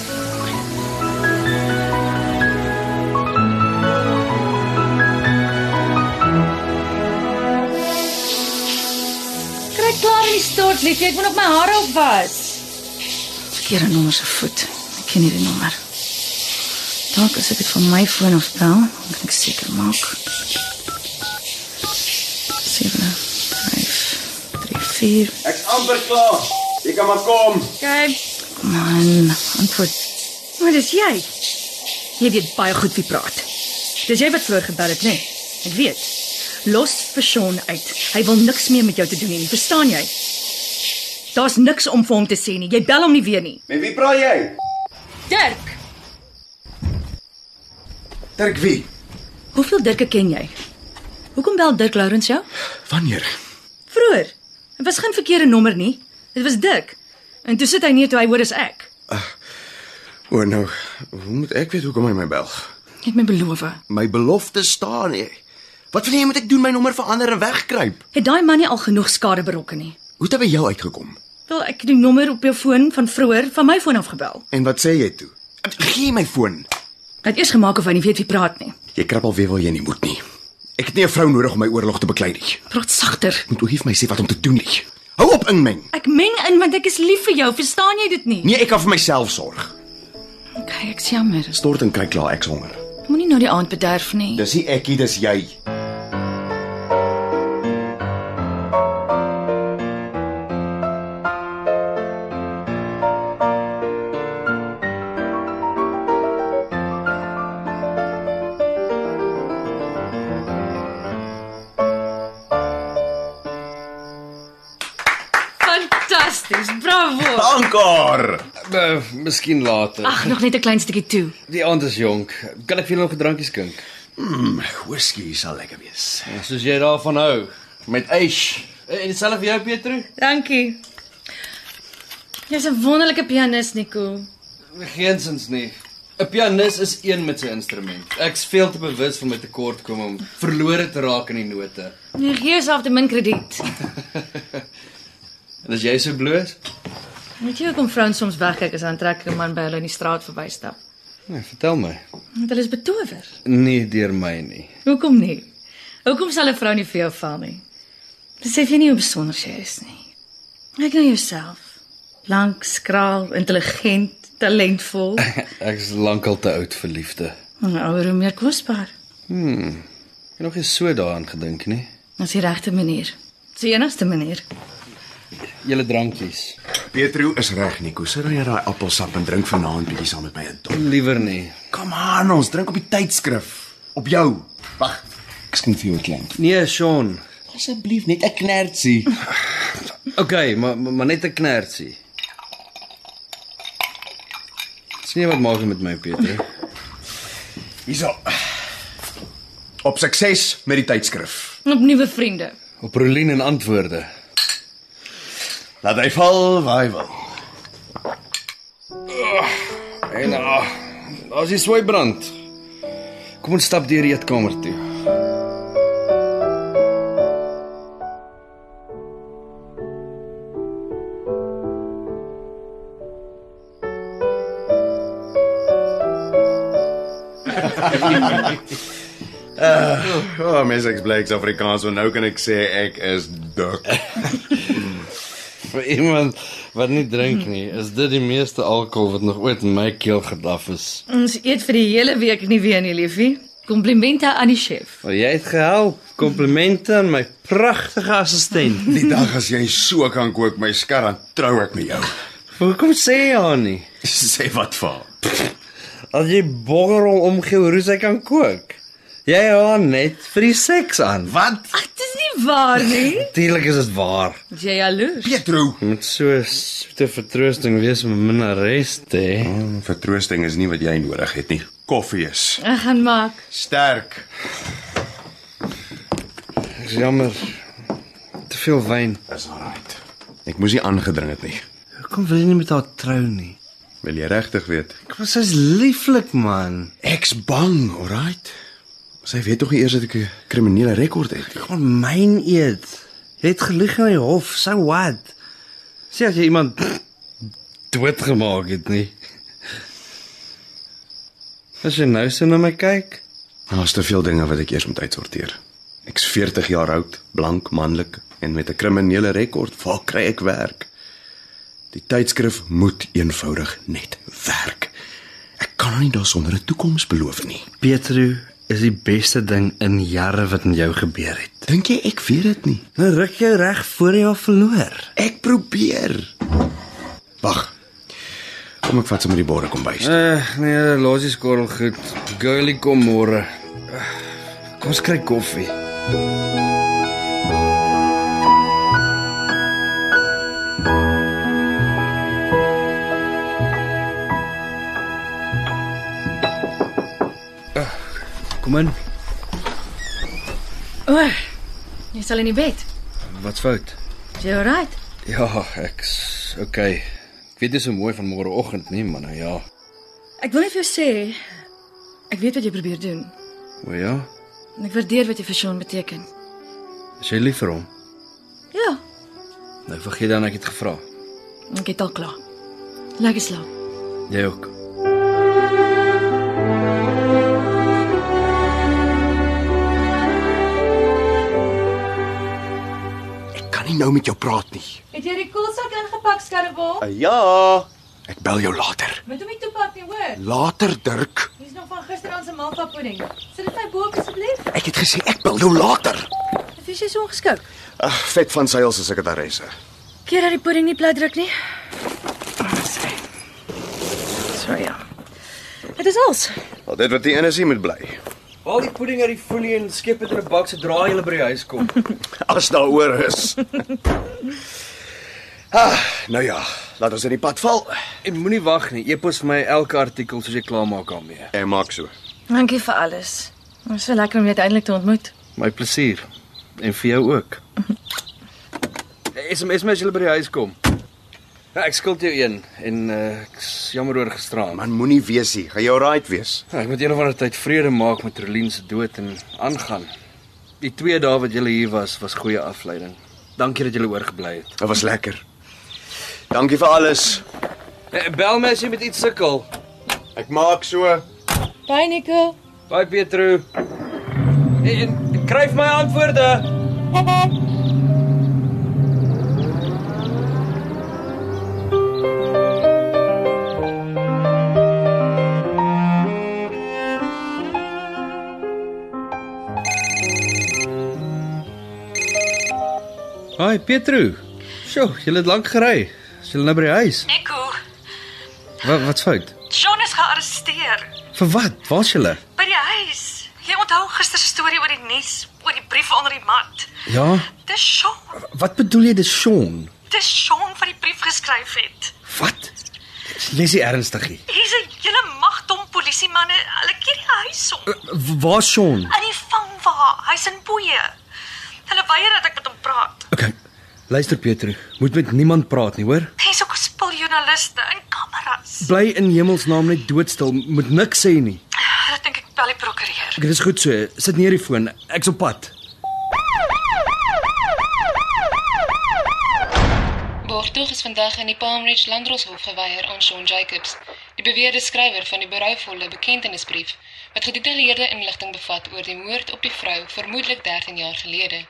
Kry klaar in die stort lief, ek moet nog my hare opwas. Verkeerde nommer se voet. Ek ken nie die nommer. Dalk as ek dit van my foon af bel, dan kan ek seker maak. 7 5 3 4
Ek's amper klaar. Jy kan maar kom.
Okay. Man, antwoord. Maar dis jy. Jy weet baie goed wie praat. Dis jy wat vroeër gebel het, né? Nee? Ek weet. Los vir Sean uit. Hy wil niks meer met jou te doen hê nie, verstaan jy? Daar's niks om vir hom te sê nie. Jy bel hom nie weer nie.
Met wie praat jy?
Dirk,
Dirk wie?
hoeveel Dirke ken jy? Hoekom bel Dirk Lawrence jou?
Wanneer?
Vroeër. Dit was geen verkeerde nommer nie. Dit was Dirk. En toe sit hy neer toe hy hoor dis ek.
O nou, hoe moet ek weet hoekom hy my bel?
Jy het my beloof.
My belofte staan nie. Wat wil jy moet ek doen my nommer verander en wegkruip?
Het daai man nie al genoeg skade berokken nie?
Hoe het hy by jou uitgekom?
Wel, ek het die nommer op jou foon van vroeër van my foon af gebel.
En wat sê jy toe? Gee my foon.
Ek het eers gemaak of hy nie weet wie praat nie.
Jy krap al weer waar jy nie moet nie. Ek het nie 'n vrou nodig om my oorlog te beklei nie.
Praat sagter.
Moet ook nie vir my sê wat om te doen nie. Hou op inmeng.
Ek meng in want ek is lief vir jou, verstaan jy dit nie?
Nee, ek kan vir myself sorg.
Okay, ek's jammer.
Stort en kyk klaar, ek's honger.
Moenie nou die aand bederf nie.
Dis nie ekkie, dis jy.
Fantasties. Bravo.
Dankaar.
Uh, miskien later.
Ag, nog net 'n klein stukkie toe.
Die aand is jonk. Kan ek vir jou nog 'n drankie skink?
Whisky Hmm, sal lekker wees.
Soos jy daarvan hou met Ash.
Eh,
En dieselfde vir jou Petro?
Dankie. Jy's 'n wonderlike pianis, Nico.
Geensins nie. 'n Pianis is een met sy instrument. Ek's veel te bewus van my tekortkom om verlore te raak in die note.
Jy gee jouself te min krediet.
En as jy so bloot,
Moet jy ook om vrouens soms wegkyk as 'n aantreklike man by hulle in die straat verbystap?
Nee, vertel my.
Want hulle is betower.
Nie deur my nie.
Hoekom nie? Hoekom sal 'n vrou nie vir jou val nie? Besef jy nie hoe besonder jy is nie. Kyk na jouself. Lank, skraal, intelligent, talentvol.
Ek's lankal te oud vir liefde.
En ouer hoe meer kosbaar.
Ek het nog nie so daaraan gedink nie.
Dis die regte manier. Dis die enigste manier.
Julle drankies.
Petro is reg, Nico. Sit dan jy daai appelsap en drink vanaand bietjie saam met my in dop.
Liewer nie.
Kom aan, ons drink op die tydskrif. Op jou. Wag. Ek skink vir jou 'n klein.
Nee, Sean.
Asseblief net 'n knertsie.
Okay, maar maar maar net 'n knertsie. Sien jy wat maak jy met my, Pieter?
Hierso. Op sukses met die tydskrif.
En op nuwe vriende.
Op Rolien en antwoorde.
Laat hy val waar hy wil.
En ah, daar's die swaibrand. Kom ons stap deur die eetkamer toe.
O, oh, mens ek blyks Afrikaans, want nou kan ek sê ek is dik.
Vir iemand wat nie drink nie, is dit die meeste alkohol wat nog ooit in my keel gedaf is.
Ons eet vir die hele week nie weer nie, liefie. Komplimente aan die chef.
Maar jy het gehelp. Komplimente aan my pragtige assistent.
Die dag as jy so kan kook my skar, dan trou ek met jou.
Hoekom sê jy haar nie?
Sê wat vir? haar.
As jy bongerol omgee hoe sy kan kook. Jy hou haar net vir die seks aan.
Wat?
Ag, dis nie waar nie.
Natuurlik is dit waar.
Is Jy jaloers.
Petro.
Jy moet so soete vertroosting wees om 'n minnares te hê.
Hmm, Vertroosting is nie wat jy nodig het nie. Koffie is
Ek gaan maak.
sterk.
Dis jammer. Te veel wyn.
Dis alright. Ek moes nie aangedring het nie.
Hoekom wil jy nie met haar trou nie?
Wil jy regtig weet?
Kom sy's lieflik man.
Ek's bang, alright. Sy weet tog nie eers dat ek 'n kriminele rekord het. nie.
Kom myn eet. Jy het gelieg in die hof. So wat? Sê as jy iemand doodgemaak het nie. As jy nou so na my kyk,
Daar's te veel dinge wat ek eers moet uitsorteer. Ek's 40 jaar oud, blank, manlik en met 'n kriminele rekord. Waar kry ek werk? Die tydskrif moet eenvoudig net werk. Ek kan nie daarsonder 'n toekoms beloof nie.
Petru is die beste ding in jare wat met jou gebeur het.
Dink jy ek weet dit nie?
Nou ruk jou reg voor jy haar verloor.
Ek probeer. Wag. Kom ek vat sommer die borde kom bys.
Eh, nee, los die skorrel goed. Girlie kom môre. Kom ons kry koffie. Ah, Kom in.
O, jy sal in die bed.
Wat's fout?
Is jy reg?
Ja, ek's okay. Ek weet dis so mooi van môreoggend nie, maar nou ja.
Ek wil net vir jou sê ek weet wat jy probeer doen.
O ja.
En ek waardeer wat jy vir Sean beteken.
Is jy lief vir hom?
Ja,
Nou vergeet dan ek het gevra.
ek het al klaar. Lekker slaap.
Jy ook.
Ek kan nie nou met jou praat nie.
Het jy die koelsak ingepak, skarrewol?
Ja. Ek bel jou later.
Moet hom nie toepak nie, hoor.
Later, Dirk.
Hier's nog van gisteraand se malva pudding. Sit dit my bo op asseblief.
Ek het gesê ek bel jou later.
Of is jy so ongeskik?
Ag, vet van sy als sekretaresse.
Keer dat die pudding nie plat druk nie. Sy. So ja. Dit is alles.
Al dit wat die energie moet bly.
haal die pudding uit die folie en skep dit in 'n bak sodra jy by die huis kom.
As daaroor is. ah, nou ja, laat ons in die pad val.
En moenie wag nie. Epos vir my elke artikel soos jy klaar maak daarmee.
Ek maak so.
Dankie vir alles. Dit is so lekker om jou uiteindelik te ontmoet.
My plesier en vir jou ook. SMS my as jy by die huis kom. Ja, ek skuld jou een en uh, ek is jammer oor gisteraan.
Man moenie wees nie. Gaan jy alright wees?
Ja, ek moet eendag van die tyd vrede maak met Rolien se dood en aangaan. Die 2 dae wat julle hier was, was goeie afleiding. Dankie dat julle oorgebly het.
Dit was lekker. Dankie vir alles.
Eh, Bel my as jy met iets sukkel.
Ek maak so.
Bye Nico.
Bye Pietro. En, en kryf my antwoorde. Hi Pietro. Sjoe, jy het lank gery. Is jy nou by die huis?
Nico,
Wat wat's fout?
John is gearresteer
Vir wat? Waar's jy?
by die huis. Jy onthou gister se storie oor die nuus, oor die brief onder die mat.
Ja.
Dis Sean,
Wat bedoel jy dis Sean?
dis Sean wat die brief geskryf het.
Wat? Jy's nie ernstig nie.
Hier's 'n hele magdom polisiemanne, hulle keer die huis om.
W- Waar's Sean?
In die vangwa, hy's in boeye. Hulle weier dat ek met hom praat.
Okay. Luister Pietro, moet met niemand praat nie, hoor?
Hier's ook 'n spul joernaliste en kameras.
Bly in hemelsnaam net doodstil, moet niks sê nie.
Hulle dink ek bel die prokureur.
Dit is goed so. Sit neer die foon. Ek's op pad.
Borgtog is vandag in die Palm Ridge Landdroshof geweier aan Sean Jacobs, die beweerde skrywer van die berouvolle bekentenisbrief wat gedetailleerde inligting bevat oor die moord op die vrou vermoedelik 13 jaar gelede.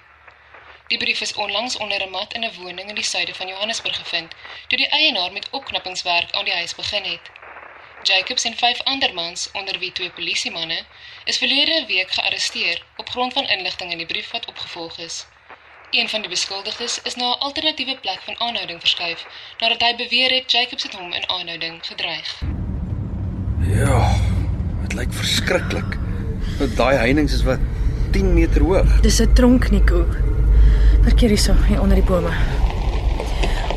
Die brief is onlangs onder 'n mat in 'n woning in die suide van Johannesburg gevind, toe die eienaar met opknappingswerk aan die huis begin het. Jacobs en vyf ander mans, onder wie twee polisiemanne, is verlede week gearresteer op grond van inligting in die brief wat opgevolg is. Een van die beskuldiges is na 'n alternatiewe plek van aanhouding verskuif nadat hy beweer het Jacobs het hom in aanhouding gedreig.
Ja. Dit lyk verskriklik. Want daai heininge is wat 10 meter hoog.
Dis 'n tronk Nico. Parkeer hierso, hier onder die bome.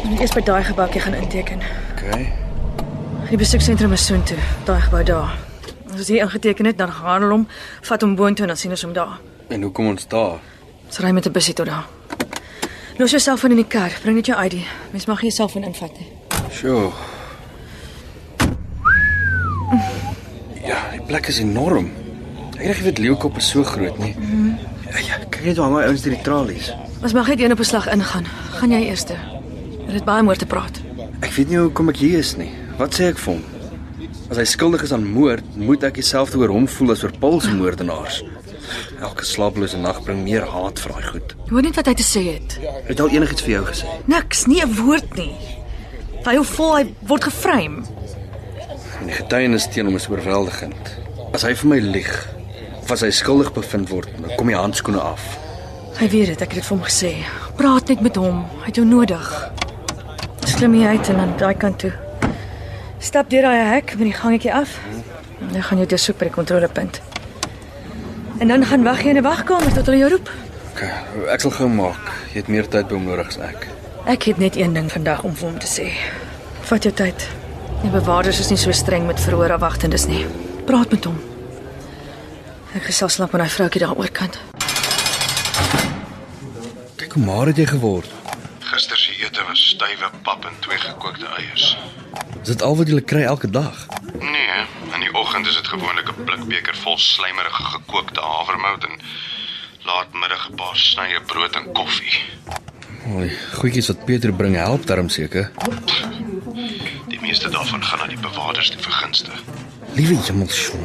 Moet net eers by daai gebakkie gaan inteken.
Okay.
Die besoeksentrum is soontoe, daai gebou daar. As ons hier ingeteken het, dan gaan hulle hom, vat hom boontoe en dan sien ons hom daar.
En hoekom ons daar?
Ons ry met 'n busie tot daar. Los jou selfoon in die kar, bring net jou ID. Mens mag nie jou selfoon invat nie.
Sjoe. Ja, die plek is enorm. Ek dink dit leeukop is so groot nie.
Mm.
Ja, kyk net hoe hang hy ouens deur die tralies.
Ons mag net een op 'n slag ingaan. Gaan jy eers? Dit is baie moeite te praat.
Ek weet nie hoekom ek hier is nie. Wat sê ek vir hom? As hy skuldig is aan moord, moet ek dieselfde oor hom voel as oor Paul se moordenaars. Elke slapelose nag bring meer haat vir daai goed.
Hoor net wat hy te sê het.
Het al enigiets vir jou gesê?
Niks, nie 'n woord nie. Hy hoe vol hy word geframe.
En die getuienis teen hom is oorweldigend. As hy vir my lieg, of as hy skuldig bevind word, dan kom die handskoene af.
Hy weet dit, ek het dit vir hom gesê. Praat net met hom. Hy het jou nodig. Slim jy uit en dan daai kant toe. Stap deur daai hek met die gangetjie af. En dan gaan jy dit soek by die kontrolepunt. En dan gaan wag jy in 'n wagkamer tot hulle jou roep.
Okay, ek sal gou maak. Jy het meer tyd by hom nodig as ek.
Ek het net een ding vandag om vir hom te sê. Vat jou tyd. Die bewaarders is nie so streng met verhoor afwagtendes nie. Praat met hom. Ek gesels lank met daai vroutjie daar oorkant.
Kyk hoe maar het jy geword.
Gister se ete was stywe pap en twee gekookte eiers.
Is dit al wat jy kry elke dag?
Nee, hè? in die oggend is dit gewoonlik 'n blikbeker vol slijmerige gekookte havermout en laatmiddag 'n paar snye brood en koffie.
Oei, goedjies wat Pieter bring help darm seker.
Die meeste daarvan gaan aan die bewaarders te vergunste.
Liewe jemmel, Sean.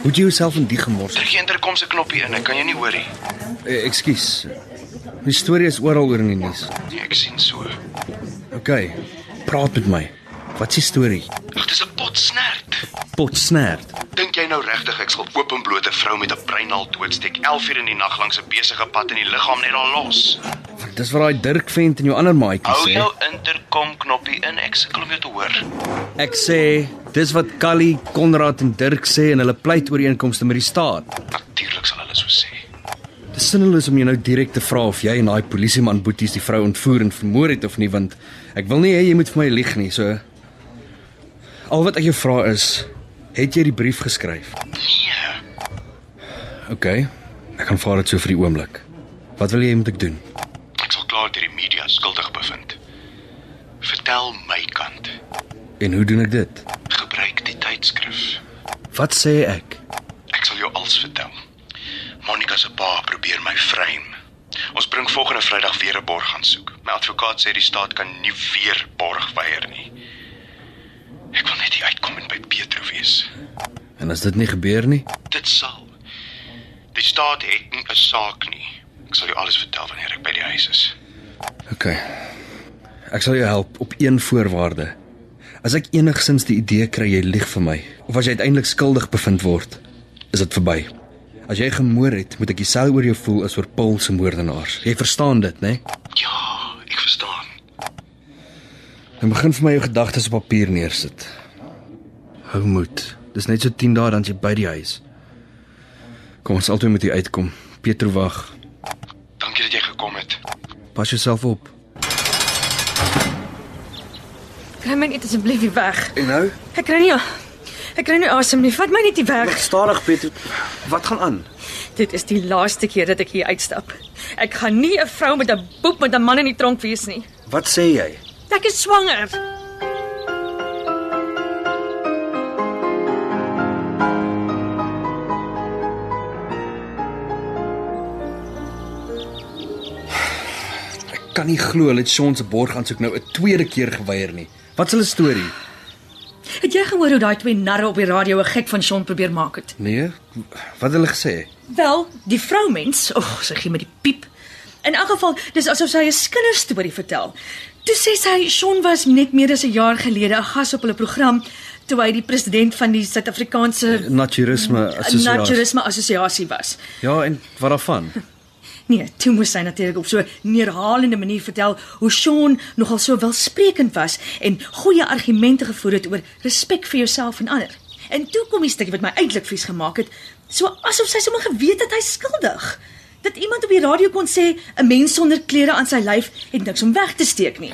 Hoe het jy jouself in die gemors?
Druk die interkomse knoppie in, ek kan jou nie hoor nie.
Eh, Ekskuus. Die storie is oral oor in die nuus.
Nee, ek sien so.
OK. Praat met my. Wat is die storie?
Ag, dis 'n pot snert.
Potsnert.
Dink jy nou regtig ek sal openblote vrou met 'n breinaal doodsteek 11uur in die nag langs 'n besige pad en die liggaam net al los?
Dis wat daai Dirk vent en jou ander maatjie
Hou
sê.
jou interkom knoppie in, ek sukkel om jou te hoor.
Ek sê dis wat Callie, Konrad en Dirk sê en hulle pleit ooreenkomste met die staat.
Natuurlik sal hulle so sê.
Dis sinneloos om jou nou direk te vra of jy en daai polisieman Boeties die vrou ontvoer en vermoor het of nie want ek wil nie hê jy moet vir my lieg nie. So al wat ek jou vra is, het jy die brief geskryf?
Nee.
OK. Ek aanvaar dit so vir die oomblik. Wat wil jy moet ek doen?
Ek sal klaar deur die media skuldig bevind. Vertel my kant.
En hoe doen ek dit?
Gebruik die tydskrif.
Wat sê ek?
Ek sal jou alles vertel. Monica se pa probeer my frame. Ons bring volgende Vrydag weer 'n borg gaan soek. My advokaat sê die staat kan nie weer borg weier nie. Ek wil net hier uitkom en by Petro wees.
En as dit nie gebeur nie,
Dit sal. Die staat het nie 'n saak nie. Ek sal jou alles vertel wanneer ek by die huis is.
OK. Ek sal jou help op een voorwaarde. As ek enigsins die idee kry jy lieg vir my of as jy uiteindelik skuldig bevind word, is dit verby. As jy gemoor het, moet ek dieselfde oor jou voel as oor Paul se moordenaars. Jy verstaan dit, né? Nee?
Ja, ek verstaan.
Dan begin vir my jou gedagtes op papier neersit. Hou moed. Dis net so 10 dae dan is jy by die huis. Kom ons altyd met jy uitkom. Pietro wag.
Dankie dat jy gekom het.
Pas jouself op.
Kry my net asseblief hier weg.
En nou?
Ek kry nie Ek kry nie asem nie. Vat my net hier weg.
Stadig, Pietro. Wat gaan aan?
Dit is die laaste keer dat ek hier uitstap. Ek gaan nie 'n vrou met 'n boek met 'n man in die tronk wees nie.
Wat sê jy?
Ek is swanger.
Ek kan nie glo hulle het Sean se borg aansoek nou 'n tweede keer geweier nie. Wat is hulle storie?
Het jy gehoor hoe daai twee narre op die radio 'n gek van Sean probeer maak het?
Nee. Wat het hulle gesê?
Wel, die vroumens, o, oh, sy gee met die piep. In elk geval, dis asof sy 'n kinderstorie vertel. Toe sê sy Sean was net meer as 'n jaar gelede 'n gas op hulle program toe hy die president van die Suid-Afrikaanse
Naturisme assosiasie.
Naturisme Assosiasie was.
Ja, en wat daarvan?
Nee, toe moes sy natuurlik op so 'n neerhalende manier vertel hoe Sean nogal so welsprekend was en goeie argumente gevoer het oor respek vir jouself en ander. En toe kom die stukkie wat my eintlik vies gemaak het, so asof sy sommer geweet het hy skuldig. Dat iemand op die radio kon sê 'n mens sonder klere aan sy lyf het niks om weg te steek nie.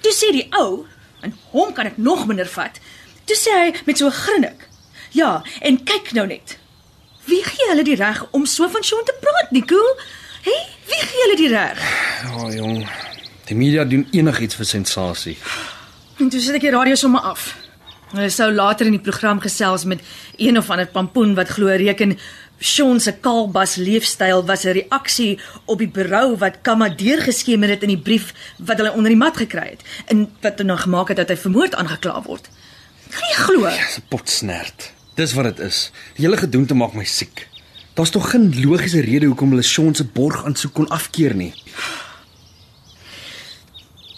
Toe sê die ou, en hom kan ek nog minder vat. Toe sê hy met so 'n grinnik. Ja, en kyk nou net. Wie gee hulle die reg om so van Sean te praat, Nico? Hé, hey, wie gee hulle die reg?
Ja, oh, jong. Die media doen enigiets vir sensasie.
En toe sit ek die radio sommer af. Hulle sou later in die program gesels met een of ander pampoen wat glo reken Sean se kaalbas leefstyl was 'n reaksie op die berou wat Kamma deurgeskemer het in die brief wat hulle onder die mat gekry het en wat hom nou gemaak het dat hy vermoord aangekla word. Kan jy glo?
Dis 'n potsnert. Dis wat dit is. Die hele gedoente maak my siek. Daar's tog geen logiese rede hoekom hulle Sean se borg aansoek kon afkeer nie.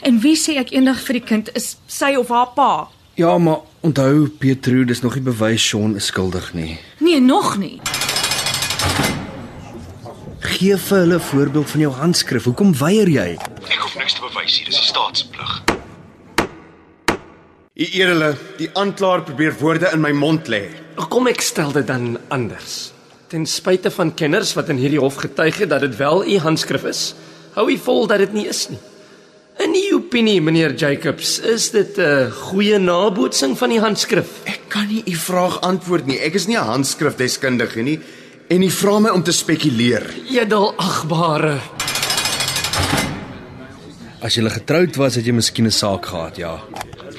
En wie sê ek eendag vir die kind is sy of haar pa?
Ja, maar onthou Pietro, dis nog nie bewys Sean is skuldig nie.
Nee, nog nie.
Gee vir hulle 'n voorbeeld van jou handskrif. Hoekom weier jy?
Ek hoef niks te bewys hier, dis die staat se plig.
U eerle, die aanklaer probeer woorde in my mond lê.
Kom ek stel dit dan anders. Ten spyte van kenners wat in hierdie hof getuig het dat dit wel u handskrif is, hou u vol dat dit nie is nie. In u opinie, meneer Jacobs, is dit 'n goeie nabootsing van die handskrif?
Ek kan nie u vraag antwoord nie. Ek is nie 'n handskrifdeskundige nie en u vra my om te spekuleer.
Edelagbare.
As jy getroud was, het jy miskien 'n saak gehad, ja.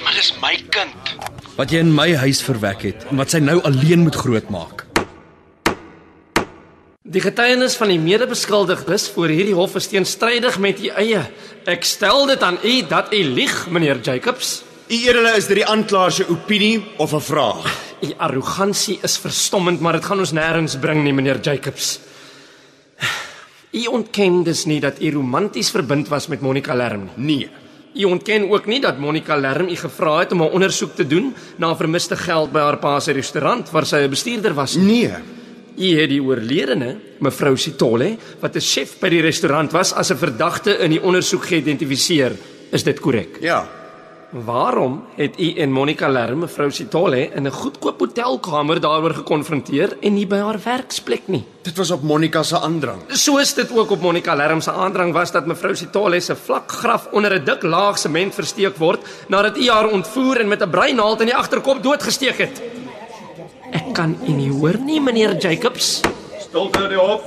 Maar dis my kind.
Wat jy in my huis verwek het en wat sy nou alleen moet grootmaak.
Die getuienis van die medebeskuldigdes voor hierdie hof is teenstrydig met u eie. Ek stel dit aan u dat u lieg, meneer Jacobs.
U edele, is dit die aanklaer se opinie of 'n vraag?
U arrogansie is verstommend, maar dit gaan ons nêrens bring nie, meneer Jacobs. U ontken dus nie dat u romanties verbind was met Monica Lerm
nie. Nee.
U ontken ook nie dat Monica Lerm u gevra het om 'n ondersoek te doen na vermiste geld by haar pa se restaurant waar sy 'n bestuurder was.
Nee.
U het die oorledene, mevrou Sitole, wat 'n chef by die restaurant was, as 'n verdagte in die ondersoek geïdentifiseer. Is dit korrek?
Ja.
Waarom het u en Monica Lerm mevrou Sitole in 'n goedkoop hotelkamer daaroor gekonfronteer en nie by haar werksplek nie?
Dit was op Monica se aandrang.
Soos dit ook op Monica Lerm se aandrang was dat mevrou Sitole se vlak graf onder 'n dik laag sement versteek word nadat u haar ontvoer en met 'n breinaald in die agterkop doodgesteek het. Ek kan u nie hoor nie, meneer Jacobs.
Stilte die hof.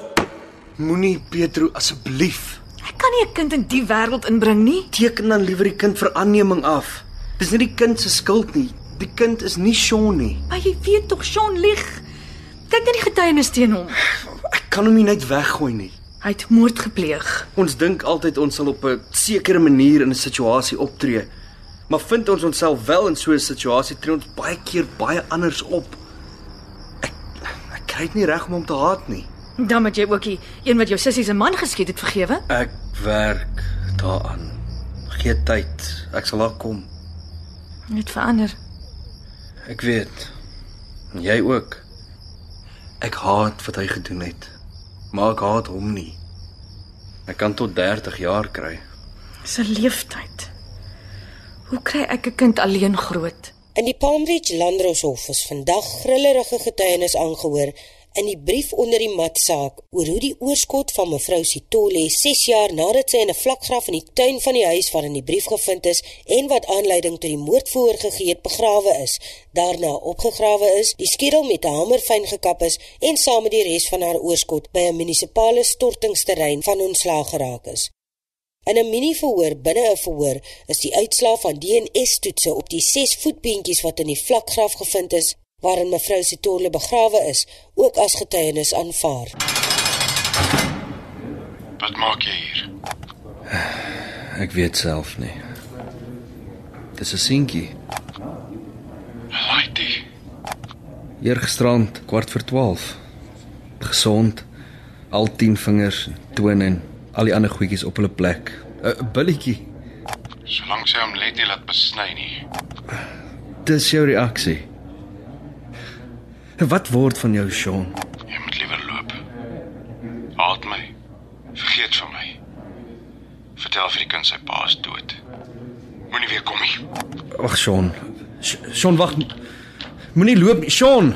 Moenie Petro asseblief.
Ek kan nie 'n kind in die wêreld inbring nie.
Teken dan liewer die kind vir aanneming af. Dis nie die kind se skuld nie. Die kind is nie Sean nie.
Maar jy weet tog Sean lieg. Kyk na die getuienis teen hom.
Ek kan hom nie net weggooi nie.
Hy het moord gepleeg.
Ons dink altyd ons sal op 'n sekere manier in 'n situasie optree. Maar vind ons onsself wel in so 'n situasie tree ons baie keer baie anders op. Ek ek kry dit nie reg om hom te haat nie.
Dan moet jy ook die een wat jou sussie se man geskiet het vergewe.
Ek werk daaraan. Gee tyd. Ek sal daar kom.
Net verander.
Ek weet. En Jy ook. Ek haat wat hy gedoen het. Maar ek haat hom nie. Ek kan tot 30 jaar kry.
Dis 'n leeftyd. Hoe kry ek 'n kind alleen groot?
In die Palm Beach Landdroshof is vandag grillerige getuienis aangehoor in die brief onder die mat saak oor hoe die oorskot van mevrou Sitole 6 jaar nadat sy in 'n vlakgraf in die tuin van die huis waarin die brief gevind is en wat aanleiding tot die moord voorgegee het begrawe is, daarna opgegrawe is, die skedel met 'n hamer fyn gekap is en saam met die res van haar oorskot by 'n munisipale stortingsterrein van ontslaag geraak is. In 'n mini-verhoor binne 'n verhoor is die uitslae van DNA-toetse op die 6 voetbeentjies wat in die vlakgraf gevind is waarin mevrou Sitole begrawe is, ook as getuienis aanvaar.
Wat maak jy hier?
Ek weet self nie. Dis 'n seentjie.
Laitie.
Eergisterand kwart voor 12. Gesond. Al 10 vingers, tone en al die ander goedjies op hulle plek. 'n uh, Billetjie.
Solank sy hom let nie laat besny nie.
Dis jou reaksie. Wat word van jou, Sean?
Jy moet liewer loop. Haat my. Vergeet van my. Vertel vir die kind sy pa is dood. Moenie weer kom nie.
Wag, Sean. Sh- Sean, wag. Moenie loop, nie. Sean.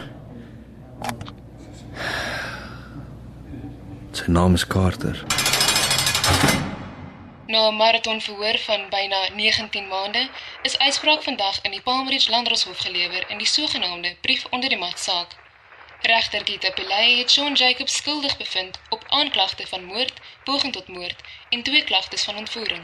Sy naam is Carter.
Na 'n maratonverhoor van byna 19 maande is uitspraak vandag in die Palm Ridge Landdroshof gelewer in die sogenaamde brief onder die mat saak. Regter Gita Pillay het Sean Jacobs skuldig bevind op aanklagte van moord, poging tot moord en twee klagtes van ontvoering.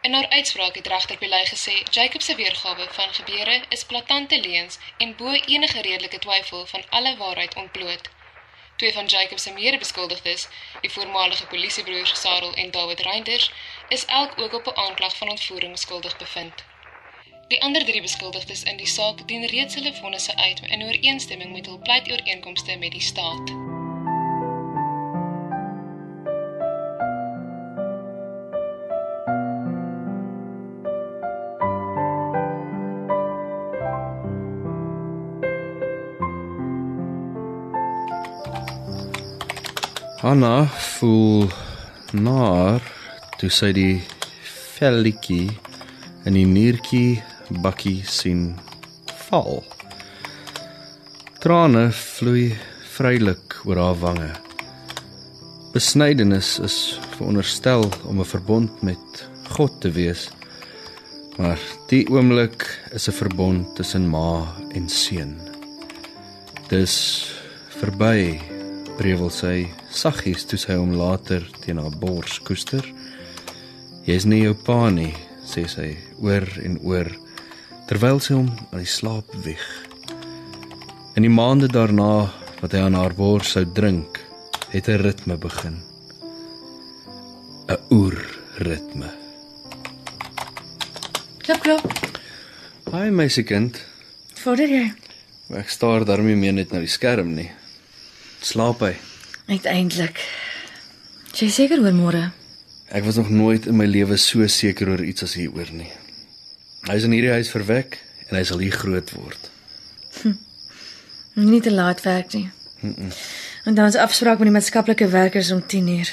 In haar uitspraak het regter Pillay gesê Jacobs se weergawe van gebeure is platante leuns en bo enige redelike twyfel van alle waarheid ontbloot. Twee van Jacobs se mede-beskuldigdes, die voormalige polisiebroers Sarel en David Reinders, is elk ook op 'n aanklag van ontvoering skuldig bevind. Die ander drie beskuldigdes in die saak dien reeds hulle vonnisse uit in ooreenstemming met hul pleitooreenkomste met die staat.
Hanna voel naar toe sy die velletjie in die niertjie bakkie sien val. Trane vloei vrylik oor haar wange. Besnydenis is veronderstel om 'n verbond met God te wees. Maar die oomblik is 'n verbond tussen ma en seun. Dis verby prewel sy saggies toe sy hom later teen haar bors koester. Jy's nie jou pa nie, sê sy oor en oor terwyl sy hom aan die slaap wieg. In die maande daarna wat hy aan haar bors sou drink, het 'n ritme begin. 'n Oerritme.
Klop klop.
Haai meisiekind,
Vorder jy
ek staar daarmee meer net na die skerm nie. Slaap hy?
uiteindelik. Is Jy seker oor môre.
Ek was nog nooit in my lewe so seker oor iets as hieroor nie. Hy is in hierdie huis verwek en hy sal hier groot word.
Moenie te laat werk nie.
Mm -mm.
En dan is afspraak met die maatskaplike werkers om 10uur.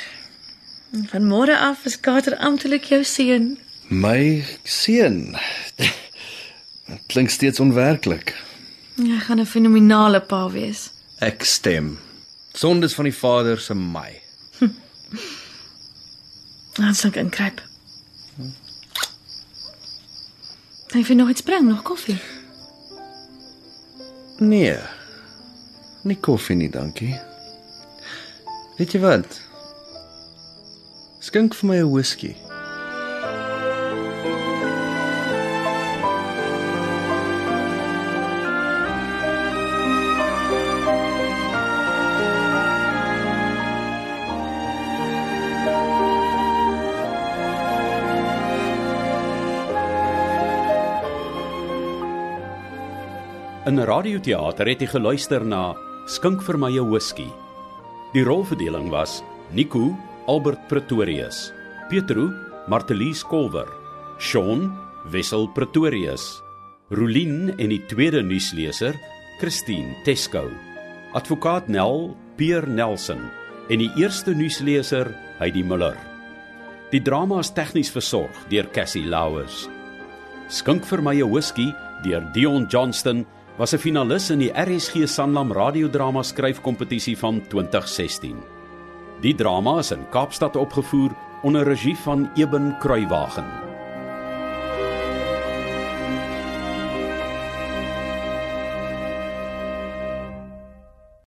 Van môre af is Kater amptelik jou seun.
My seun. Dit klink steeds onwerklik.
Jy gaan 'n fenominale pa wees.
Ek stem. Sondes van die Vader se my.
Laat sink inkruip. Hy vind Hm. nog iets bring, nog koffie.
Nee. Nie koffie nie, dankie.
Weet jy wat? Skink vir my 'n whisky.
In radioteater het hy geluister na Skink vir my 'n whisky. Die rolverdeling was Nico Albert Pretorius, Petro Martelies Kolwer, Sean Wessel Pretorius, Rulien en die tweede nuusleser Christine Teskou, advokaat Nel Pier Nelson en die eerste nuusleser Heidi Müller. Die drama is tegnies versorg deur Cassie Lauers. Skink vir my 'n whisky deur Dion Johnston was 'n finalis in die RSG Sanlam radiodrama skryfkompetisie van 2016. Die drama is in Kaapstad opgevoer onder regie van Eben Kruiwagen.